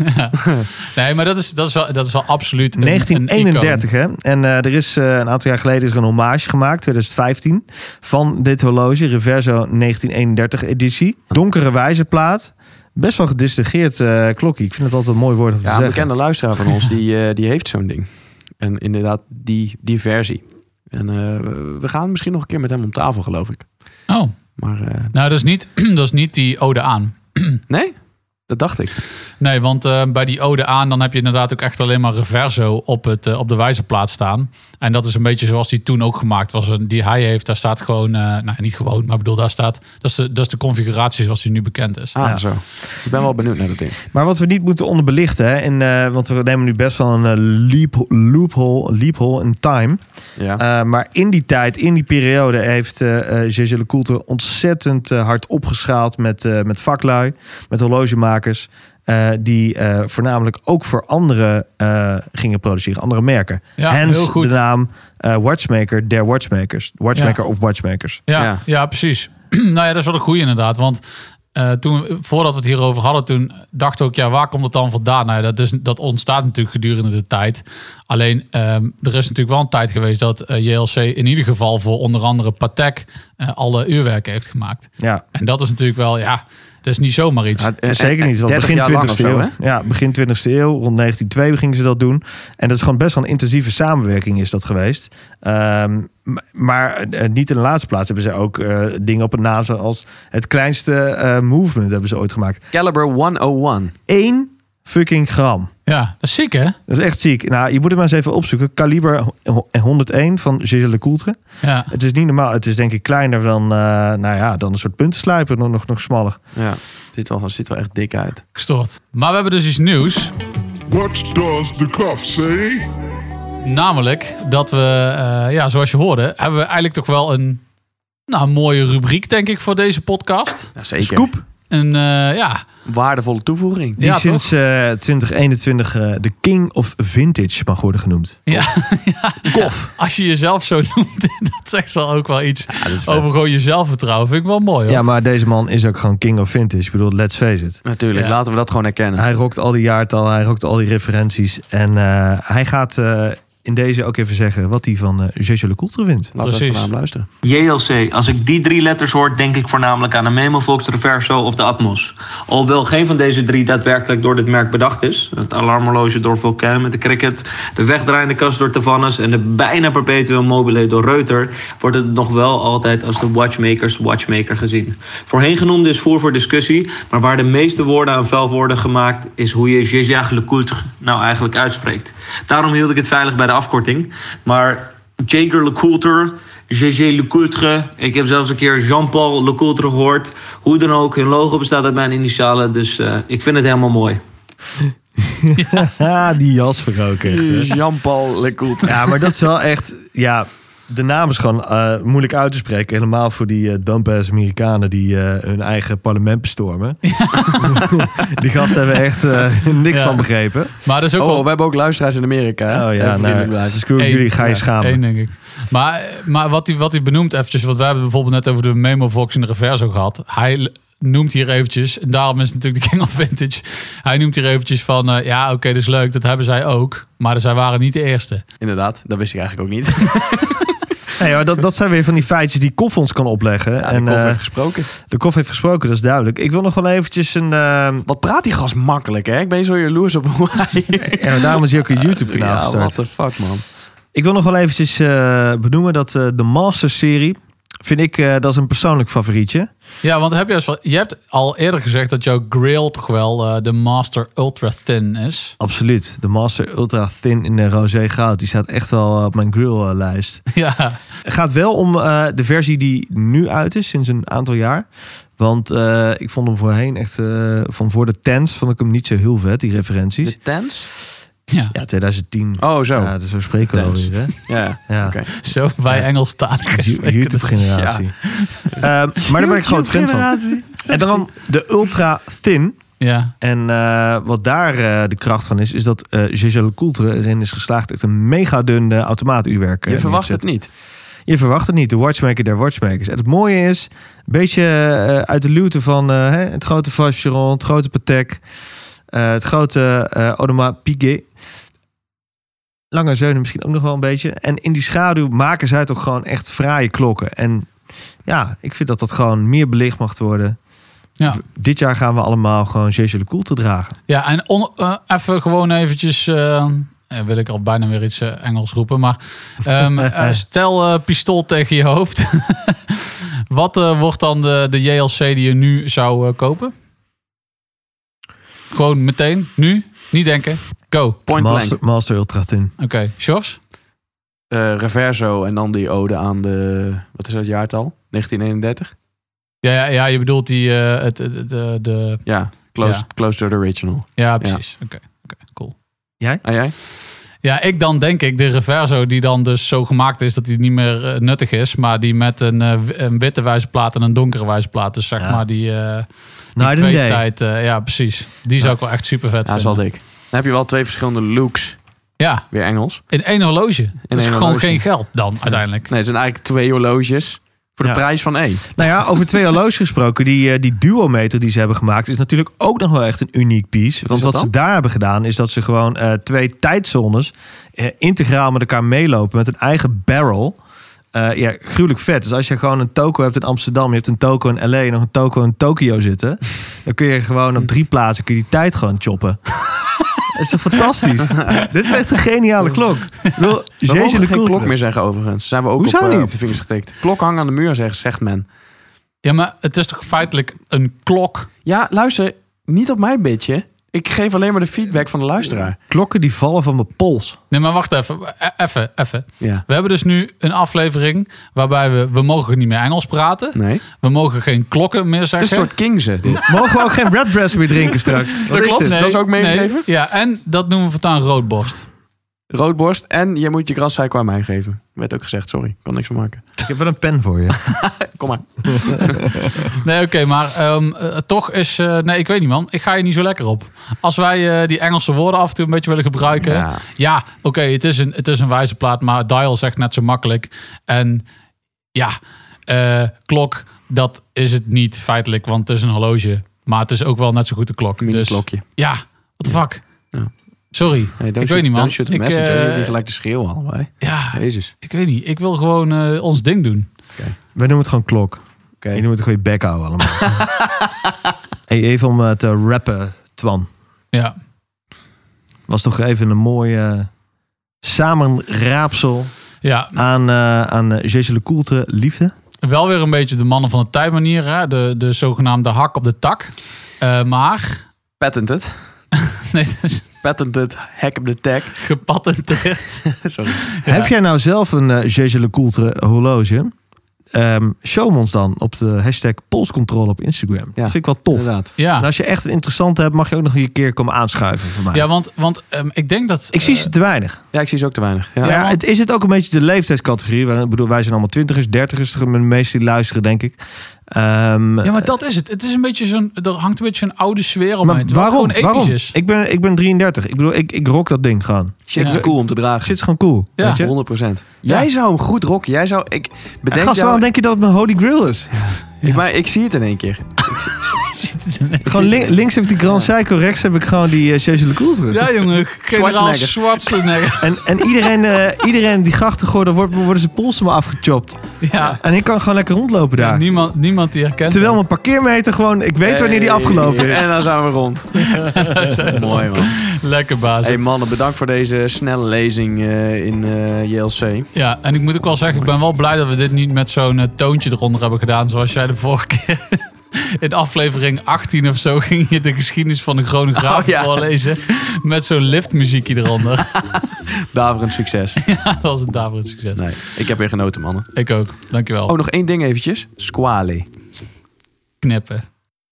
[SPEAKER 2] Nee, maar dat is, dat is, wel, dat is wel absoluut een- een icoon.
[SPEAKER 3] 1931, hè? En eh, er is eh, een aantal jaar geleden is er een hommage gemaakt, 2015, van dit horloge, Reverso 1931 editie. Donkere wijze plaat. Best wel gedistingeerd eh, klokje. Ik vind het altijd een mooi woord om te
[SPEAKER 4] Ja, een
[SPEAKER 3] zeggen.
[SPEAKER 4] bekende luisteraar van ons, die, eh, die heeft zo'n ding. En inderdaad, die, die versie. En eh, we gaan misschien nog een keer met hem om tafel, geloof ik.
[SPEAKER 2] Oh,
[SPEAKER 4] Maar eh,
[SPEAKER 2] nou, dat is, niet, [CLEARS THROAT] dat is niet die ode aan.
[SPEAKER 4] nee, dat dacht ik.
[SPEAKER 2] Nee, want eh, bij die ode aan, dan heb je inderdaad ook echt alleen maar reverso op, het, eh, op de wijzerplaat staan. En dat is een beetje zoals die toen ook gemaakt was. En Die hij heeft, daar staat gewoon, eh, nou niet gewoon, maar ik bedoel, daar staat, dat is de, dat is de configuratie zoals die nu bekend is.
[SPEAKER 4] Ah,
[SPEAKER 3] Ja.
[SPEAKER 4] zo. Ik ben wel benieuwd naar dat ding.
[SPEAKER 3] Maar wat we niet moeten onderbelichten, hè, en, eh, want we nemen nu best wel een eh, leap, loophole, loophole in time.
[SPEAKER 4] Ja.
[SPEAKER 3] Eh, maar in die tijd, in die periode, heeft eh eh, Gégé Lecoultre ontzettend eh, hard opgeschaald met, eh, met vaklui, met horlogemakers. eh, die eh, voornamelijk ook voor anderen eh, gingen produceren, andere merken.
[SPEAKER 2] Ja,
[SPEAKER 3] Hence
[SPEAKER 2] heel goed.
[SPEAKER 3] de naam eh, Watchmaker der Watchmakers. Watchmaker of Watchmakers.
[SPEAKER 2] Ja,
[SPEAKER 4] Ja.
[SPEAKER 2] ja. precies. [CLEARS THROAT] nou ja, dat is wel een goeie inderdaad. Want eh, toen, we- voordat we het hierover hadden, toen dacht ik ook, ja, waar komt dat dan vandaan? Nou, ja, dat, is, dat ontstaat natuurlijk gedurende de tijd. Alleen, ehm, er is natuurlijk wel een tijd geweest dat eh, JLC in ieder geval voor onder andere Patek eh, alle uurwerken heeft gemaakt.
[SPEAKER 3] Ja,
[SPEAKER 2] En dat is natuurlijk wel, ja, dat is niet zomaar iets.
[SPEAKER 4] Ja, en-
[SPEAKER 3] zeker
[SPEAKER 4] en-
[SPEAKER 3] niet. Want
[SPEAKER 4] 30
[SPEAKER 3] begin
[SPEAKER 4] jaar lang
[SPEAKER 3] 20e
[SPEAKER 4] of zo,
[SPEAKER 3] eeuw.
[SPEAKER 4] hè?
[SPEAKER 3] ja, begin 20e eeuw, rond 1902 gingen ze dat doen. En dat is gewoon best wel een intensieve samenwerking is dat geweest. Ehm, m- maar eh, niet in de laatste plaats hebben ze ook eh, dingen op het naam staan als het kleinste eh, movement hebben ze ooit gemaakt.
[SPEAKER 4] Caliber 101.
[SPEAKER 3] Eén fucking gram.
[SPEAKER 2] Ja, dat is ziek, hè?
[SPEAKER 3] Dat is echt ziek. Nou, je moet het maar eens even opzoeken. Kaliber ho- 101 van Gilles Lecoultre.
[SPEAKER 2] Ja.
[SPEAKER 3] Het is niet normaal. Het is denk ik kleiner dan, eh, nou ja, dan een soort puntenslijper. Nog, nog, nog smaller.
[SPEAKER 4] Ja, ziet wel, ziet wel echt dik uit.
[SPEAKER 2] Gestoord. Maar we hebben dus iets nieuws.
[SPEAKER 5] What does the cuff say?
[SPEAKER 2] Namelijk dat we, eh, ja, zoals je hoorde, hebben we eigenlijk toch wel een Nou, een mooie rubriek denk ik voor deze podcast.
[SPEAKER 4] Ja, zeker.
[SPEAKER 3] Scoop.
[SPEAKER 2] En eh, ja,
[SPEAKER 4] Waardevolle toevoeging.
[SPEAKER 3] Die
[SPEAKER 2] Ja,
[SPEAKER 3] sinds eh, 2021 eh, de King of Vintage mag worden genoemd.
[SPEAKER 2] ja,
[SPEAKER 3] Kof.
[SPEAKER 2] als je jezelf zo [LAUGHS] noemt, dat zegt wel ook wel iets
[SPEAKER 4] dat is vet.
[SPEAKER 2] over gewoon je zelfvertrouwen. Vind ik wel mooi. Hoor.
[SPEAKER 3] Ja, maar deze man is ook gewoon King of Vintage. Ik bedoel, let's face it.
[SPEAKER 4] Natuurlijk,
[SPEAKER 2] Ja.
[SPEAKER 4] laten we dat gewoon herkennen.
[SPEAKER 3] Hij rokt al die jaartallen, hij rokt al die referenties. En eh, hij gaat eh, in deze ook even zeggen wat hij van eh Jeje Lecoultre [LAUGHS] vindt.
[SPEAKER 4] Laten we
[SPEAKER 2] Precies.
[SPEAKER 4] even naar hem luisteren.
[SPEAKER 6] JLC. Als ik die drie letters hoor, denk ik voornamelijk aan een Memovox, Reverso of de Atmos. Alhoewel geen van deze drie daadwerkelijk door dit merk bedacht is. Het alarmhorloge door Vulcan met de Cricket, de wegdraaiende kast door Tavannes en de bijna perpetueel mobile door Reuter, wordt het nog wel altijd als de watchmakers watchmaker gezien. Voorheen genoemde is voer voor discussie, maar waar de meeste woorden aan vuil worden gemaakt, is hoe je Jean-Jacques Lecoultre nou eigenlijk uitspreekt. Daarom hield ik het veilig bij de afkorting, maar Jager LeCoultre, GG LeCoultre. Ik heb zelfs een keer Jean-Paul LeCoultre gehoord. Hoe dan ook, hun logo bestaat uit mijn initialen. Dus eh, ik vind het helemaal mooi.
[SPEAKER 3] Ah, die jas verroken. echt, hè?
[SPEAKER 4] Jean-Paul Lecoultre.
[SPEAKER 3] Ja, maar dat is wel echt. Ja, de naam is gewoon eh, moeilijk uit te spreken. Helemaal voor die eh dumbass Amerikanen die eh, hun eigen parlement bestormen. [LAUGHS] die gasten hebben echt eh, niks
[SPEAKER 2] Ja.
[SPEAKER 3] van begrepen.
[SPEAKER 2] Maar dat is ook
[SPEAKER 4] Oh,
[SPEAKER 2] wel
[SPEAKER 4] we hebben ook luisteraars in Amerika. hè?
[SPEAKER 3] Oh ja,
[SPEAKER 4] Even vriendelijk
[SPEAKER 3] nou,
[SPEAKER 4] blijven.
[SPEAKER 3] screw
[SPEAKER 2] Eén.
[SPEAKER 3] jullie, ga je
[SPEAKER 2] Ja,
[SPEAKER 3] schamen.
[SPEAKER 2] één, denk ik. Maar, maar wat, hij, wat hij benoemt eventjes, wat wij hebben bijvoorbeeld net over de Memo Vox in de Reverso gehad. Hij l- noemt hier eventjes, en daarom is het natuurlijk de King of Vintage. Hij noemt hier eventjes van, eh, ja oké, dat is leuk, dat hebben zij ook. Maar zij waren niet de eerste.
[SPEAKER 4] Inderdaad, dat wist ik eigenlijk ook niet.
[SPEAKER 3] Nee, maar dat, dat zijn weer van die feitjes die Kof ons kan opleggen.
[SPEAKER 4] [LAUGHS] Ja,
[SPEAKER 3] en
[SPEAKER 4] de koffie
[SPEAKER 3] eh,
[SPEAKER 4] heeft gesproken.
[SPEAKER 3] de Kof heeft gesproken, dat is duidelijk. Ik wil nog wel eventjes een... eh,
[SPEAKER 4] Wat praat die gast makkelijk, hè? Ik ben zo jaloers op hoe hij...
[SPEAKER 3] ja, maar daarom is hij ook een YouTube-kanaal
[SPEAKER 4] Ja,
[SPEAKER 3] gestart.
[SPEAKER 4] what the fuck, man.
[SPEAKER 3] Ik wil nog wel eventjes eh, benoemen dat eh, de Masters-serie... vind ik, eh, dat is een persoonlijk favorietje.
[SPEAKER 2] Ja, want heb je, eens wel, je hebt al eerder gezegd dat jouw grill toch wel eh, de Master Ultra Thin is. [LAUGHS]
[SPEAKER 3] Absoluut. De Master Ultra Thin in de roze goud. Die staat echt wel eh, op mijn grill-lijst.
[SPEAKER 2] ja,
[SPEAKER 3] Het gaat wel om eh, de versie die nu uit is, sinds een aantal jaar. Want eh, ik vond hem voorheen echt... eh, van voor de tents vond ik hem niet zo heel vet, die referenties.
[SPEAKER 4] De tents?
[SPEAKER 2] ja.
[SPEAKER 3] Ja, 2010.
[SPEAKER 4] Oh, zo.
[SPEAKER 3] Ja,
[SPEAKER 4] Ja.
[SPEAKER 3] dus zo spreken we
[SPEAKER 2] Tens.
[SPEAKER 3] alweer. Hè? Ja.
[SPEAKER 4] [LAUGHS]
[SPEAKER 3] Dus
[SPEAKER 4] Oké.
[SPEAKER 2] zo wij Engelstalig. [LAUGHS]
[SPEAKER 3] YouTube-generatie. Ehm, maar daar ben ik gewoon fan van. En dan de ultra thin.
[SPEAKER 2] Ja,
[SPEAKER 3] En eh, wat daar eh, de kracht van is, is dat eh Gégé Lecoultre erin is geslaagd echt een mega dun eh, automaatuurwerk. eh,
[SPEAKER 4] Je verwacht
[SPEAKER 3] neer
[SPEAKER 4] het
[SPEAKER 3] te
[SPEAKER 4] niet.
[SPEAKER 3] zetten. Je verwacht het niet. De watchmaker der watchmakers. En het mooie is, een beetje eh, uit de luwte van eh, hè, het grote Vacheron, het grote Patek, eh, het grote eh Audemars Piguet. Lange zeunen misschien ook nog wel een beetje. En in die schaduw maken zij toch gewoon echt fraaie klokken. En ja, ik vind dat dat gewoon meer belicht mag worden.
[SPEAKER 2] Ja.
[SPEAKER 3] Dit jaar gaan we allemaal gewoon Gégé Lecoultre dragen.
[SPEAKER 2] Ja, en on- eh, even gewoon eventjes... eh, eh, wil ik al bijna weer iets eh, Engels roepen, maar... ehm, eh, stel eh, pistool tegen je hoofd. [LAUGHS] Wat eh, wordt dan de, de JLC die je nu zou eh, kopen? Gewoon meteen, nu, niet denken. Go. Oké,
[SPEAKER 4] Point blank.
[SPEAKER 3] Master, Master Ultra Thin.
[SPEAKER 2] Sjors?
[SPEAKER 4] Eh, reverso en dan die ode aan de... Wat is dat jaartal? 1931?
[SPEAKER 2] Ja, ja, ja, je bedoelt die... eh, het, het- het, eh, de,
[SPEAKER 4] Ja, close,
[SPEAKER 2] Ja.
[SPEAKER 4] close to the original.
[SPEAKER 2] ja, precies. Oké, oké, cool.
[SPEAKER 4] En jij?
[SPEAKER 2] Ja, ik dan denk ik de Reverso die dan dus zo gemaakt is dat die niet meer eh, nuttig is, maar die met een, eh, w- een witte wijzerplaat en een donkere wijzerplaat, dus zeg
[SPEAKER 3] Ja.
[SPEAKER 2] maar die,
[SPEAKER 4] Nou,
[SPEAKER 2] eh die
[SPEAKER 3] Night and
[SPEAKER 2] twee
[SPEAKER 3] day.
[SPEAKER 2] tijd, eh, ja precies, die zou ik wel echt super vet
[SPEAKER 4] Ja, dat is wel
[SPEAKER 2] vinden.
[SPEAKER 4] dik. Dan heb je wel twee verschillende looks.
[SPEAKER 2] Ja,
[SPEAKER 4] Weer Engels.
[SPEAKER 2] in één horloge. dat is
[SPEAKER 4] één
[SPEAKER 2] gewoon
[SPEAKER 4] horloge.
[SPEAKER 2] geen geld dan uiteindelijk.
[SPEAKER 4] Nee, het zijn eigenlijk twee horloges voor de
[SPEAKER 3] Ja.
[SPEAKER 4] prijs van één.
[SPEAKER 3] Nou ja, over twee horloges gesproken. Die, eh, die duometer die ze hebben gemaakt is natuurlijk ook nog wel echt een uniek piece. Want
[SPEAKER 4] dat
[SPEAKER 3] wat ze daar hebben gedaan is dat ze gewoon eh, twee tijdzones eh, integraal met elkaar meelopen met een eigen barrel. Eh, ja, gruwelijk vet. Dus als je gewoon een toko hebt in Amsterdam, je hebt een toko in LA en nog een toko in Tokio
[SPEAKER 4] [LAUGHS]
[SPEAKER 3] zitten. Dan kun je gewoon op drie plaatsen kun je die tijd gewoon
[SPEAKER 4] [LAUGHS]
[SPEAKER 3] choppen. Dat is toch fantastisch? Dit is echt een geniale klok. Ik bedoel,
[SPEAKER 4] We
[SPEAKER 3] Jeetje de
[SPEAKER 4] mogen geen
[SPEAKER 3] Coultre.
[SPEAKER 4] klok meer zeggen overigens. Zijn we ook
[SPEAKER 3] Hoezo
[SPEAKER 4] op, eh,
[SPEAKER 3] niet?
[SPEAKER 4] op de vingers getikt. Klok hangen aan de muur, zegt, zegt men.
[SPEAKER 2] Ja, maar het is toch feitelijk een klok?
[SPEAKER 4] Ja, luister, niet op mijn bitje. Ik geef alleen maar de feedback van de luisteraar.
[SPEAKER 3] Klokken die vallen van mijn pols.
[SPEAKER 2] Nee, maar wacht even, e- even, even.
[SPEAKER 4] Ja.
[SPEAKER 2] We hebben dus nu een aflevering waarbij we, we mogen niet meer Engels praten,
[SPEAKER 4] Nee.
[SPEAKER 2] we mogen geen klokken meer
[SPEAKER 4] Het is
[SPEAKER 2] zeggen.
[SPEAKER 4] een soort kingse. dit.
[SPEAKER 3] Mogen we ook geen Red Breast meer drinken straks? Wat is
[SPEAKER 4] klopt.
[SPEAKER 3] dit?
[SPEAKER 4] Dat is ook meegegeven?
[SPEAKER 2] Ja, en dat noemen we voortaan roodborst.
[SPEAKER 4] Roodborst. En je moet je grassuiker aan mij geven. Werd ook gezegd, sorry. Kan niks van maken.
[SPEAKER 3] Ik heb wel een pen voor je.
[SPEAKER 4] Kom maar.
[SPEAKER 2] Nee, oké, maar ehm, eh, toch is... eh, nee, ik weet niet, man. Ik ga je niet zo lekker op. Als wij eh, die Engelse woorden af en toe een beetje willen gebruiken... Ja,
[SPEAKER 4] Ja.
[SPEAKER 2] oké, het is een het is een wijze plaat, maar dial zegt net zo makkelijk. En ja, eh, klok, dat is het niet feitelijk, want het is een horloge. Maar het is ook wel net zo goed de klok.
[SPEAKER 4] Mini
[SPEAKER 2] Dus,
[SPEAKER 4] klokje.
[SPEAKER 2] ja, what the fuck.
[SPEAKER 4] Ja.
[SPEAKER 2] Sorry,
[SPEAKER 4] Hey,
[SPEAKER 2] ik weet niet, man.
[SPEAKER 4] Don't shoot the
[SPEAKER 2] Ik,
[SPEAKER 4] messenger.
[SPEAKER 2] eh,
[SPEAKER 4] Je hoeft niet gelijk te schreeuwen al. hè.
[SPEAKER 2] ja,
[SPEAKER 4] Jezus.
[SPEAKER 2] ik weet niet. Ik wil gewoon eh, ons ding doen.
[SPEAKER 3] Wij noemen het gewoon klok.
[SPEAKER 4] Oké.
[SPEAKER 3] Je noemt het gewoon je bek
[SPEAKER 2] [LAUGHS]
[SPEAKER 3] houden allemaal. hey, even om eh, te rappen, Twan.
[SPEAKER 2] Ja,
[SPEAKER 3] Was toch even een mooie eh, samenraapsel
[SPEAKER 2] ja.
[SPEAKER 3] aan, eh aan eh, Jezus Le Coultre, liefde.
[SPEAKER 2] wel weer een beetje de mannen van de tuinmanier. Hè? De, de zogenaamde hak op de tak. Eh, maar, [LAUGHS]
[SPEAKER 4] Patented.
[SPEAKER 2] nee, dat is
[SPEAKER 4] Patented. Hack op de tag.
[SPEAKER 2] gepatenteerd.
[SPEAKER 4] [LAUGHS] Sorry.
[SPEAKER 3] Heb jij nou zelf een eh Jezus Le Coultre horloge? Ehm, show hem ons dan op de hashtag polscontrole op Instagram. Dat vind ik wel tof.
[SPEAKER 4] Inderdaad.
[SPEAKER 3] En
[SPEAKER 2] Ja,
[SPEAKER 3] als je echt een interessante hebt, mag je ook nog een keer komen aanschuiven voor mij.
[SPEAKER 2] ja want, want ehm, ik denk dat...
[SPEAKER 3] ik zie
[SPEAKER 2] eh,
[SPEAKER 3] ze te weinig.
[SPEAKER 4] Ja, ik zie ze ook te weinig. Ja.
[SPEAKER 3] Ja,
[SPEAKER 2] want-
[SPEAKER 3] het is het ook een beetje de leeftijdscategorie. Waar, ik bedoel, wij zijn allemaal twintigers, dertigers. De meeste die luisteren, denk ik. Ehm,
[SPEAKER 2] ja, maar dat is het. Het is een beetje zo'n... Er hangt een beetje zo'n oude sfeer
[SPEAKER 3] maar
[SPEAKER 2] omheen. terwijl het
[SPEAKER 3] waarom?
[SPEAKER 2] Gewoon
[SPEAKER 3] waarom?
[SPEAKER 2] ethisch is.
[SPEAKER 3] Ik, ben, ik ben 33. Ik bedoel, ik, ik rock dat ding gewoon.
[SPEAKER 4] Shit
[SPEAKER 2] Ja.
[SPEAKER 4] is cool om te dragen.
[SPEAKER 3] Zit gewoon cool.
[SPEAKER 2] Ja.
[SPEAKER 3] weet je?
[SPEAKER 4] 100 Jij zou hem goed rocken. Jij zou... Ik
[SPEAKER 3] En
[SPEAKER 4] bedenk
[SPEAKER 3] gast,
[SPEAKER 4] jou-
[SPEAKER 3] waarom denk je dat het mijn holy grail
[SPEAKER 4] [LAUGHS]
[SPEAKER 3] is?
[SPEAKER 4] ik, maar ik zie het in één keer.
[SPEAKER 3] Gewoon lin- links heb ik die Grand Seiko, rechts heb ik gewoon die uh, Jezus Le Coultre.
[SPEAKER 2] Ja, jongen. Generaal
[SPEAKER 3] [LAUGHS]
[SPEAKER 4] Schwarzenegger.
[SPEAKER 2] Schwarzenegger.
[SPEAKER 3] En, en iedereen, eh, iedereen die grachten gooit, dan wordt- worden zijn polsen maar afgechopt.
[SPEAKER 2] Ja.
[SPEAKER 3] En ik kan gewoon lekker rondlopen daar.
[SPEAKER 2] Niemand, niemand die herkent
[SPEAKER 3] Terwijl mijn parkeermeter gewoon, ik weet wanneer die
[SPEAKER 4] Hey.
[SPEAKER 3] afgelopen is.
[SPEAKER 4] En dan zijn we rond. Mooi man.
[SPEAKER 2] hem. Lekker baas.
[SPEAKER 4] Hey mannen, bedankt voor deze snelle lezing eh, in eh, JLC.
[SPEAKER 2] Ja, en ik moet ook wel zeggen, ik ben wel blij dat we dit niet met zo'n eh, toontje eronder hebben gedaan. Zoals jij de vorige keer [LAUGHS] in aflevering 18 of zo ging je de geschiedenis van de chronograaf
[SPEAKER 4] Oh, ja.
[SPEAKER 2] voorlezen. Met zo'n liftmuziekje eronder. [LAUGHS]
[SPEAKER 4] Daverend succes.
[SPEAKER 2] dat was een daverend succes.
[SPEAKER 4] Nee, ik heb weer genoten mannen.
[SPEAKER 2] Ik ook, dankjewel.
[SPEAKER 4] Oh, nog één ding eventjes. Squale.
[SPEAKER 2] Knippen.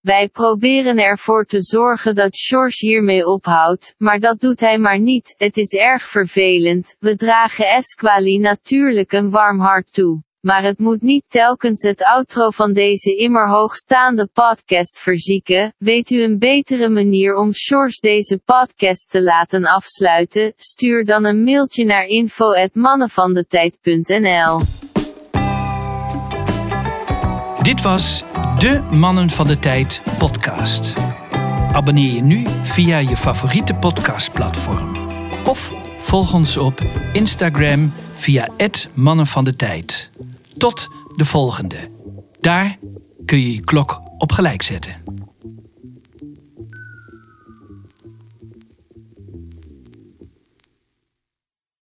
[SPEAKER 7] Wij proberen ervoor te zorgen dat George hiermee ophoudt, maar dat doet hij maar niet. Het is erg vervelend. We dragen Esquali natuurlijk een warm hart toe. Maar het moet niet telkens het outro van deze immer hoogstaande podcast verzieken. Weet u een betere manier om George deze podcast te laten afsluiten? Stuur dan een mailtje naar info@mannenvandetijd.nl.
[SPEAKER 1] Dit was de Mannen van de Tijd podcast. Abonneer je nu via je favoriete podcastplatform. Of volg ons op Instagram via het Mannen van de Tijd. Tot de volgende. Daar kun je je klok op gelijk zetten.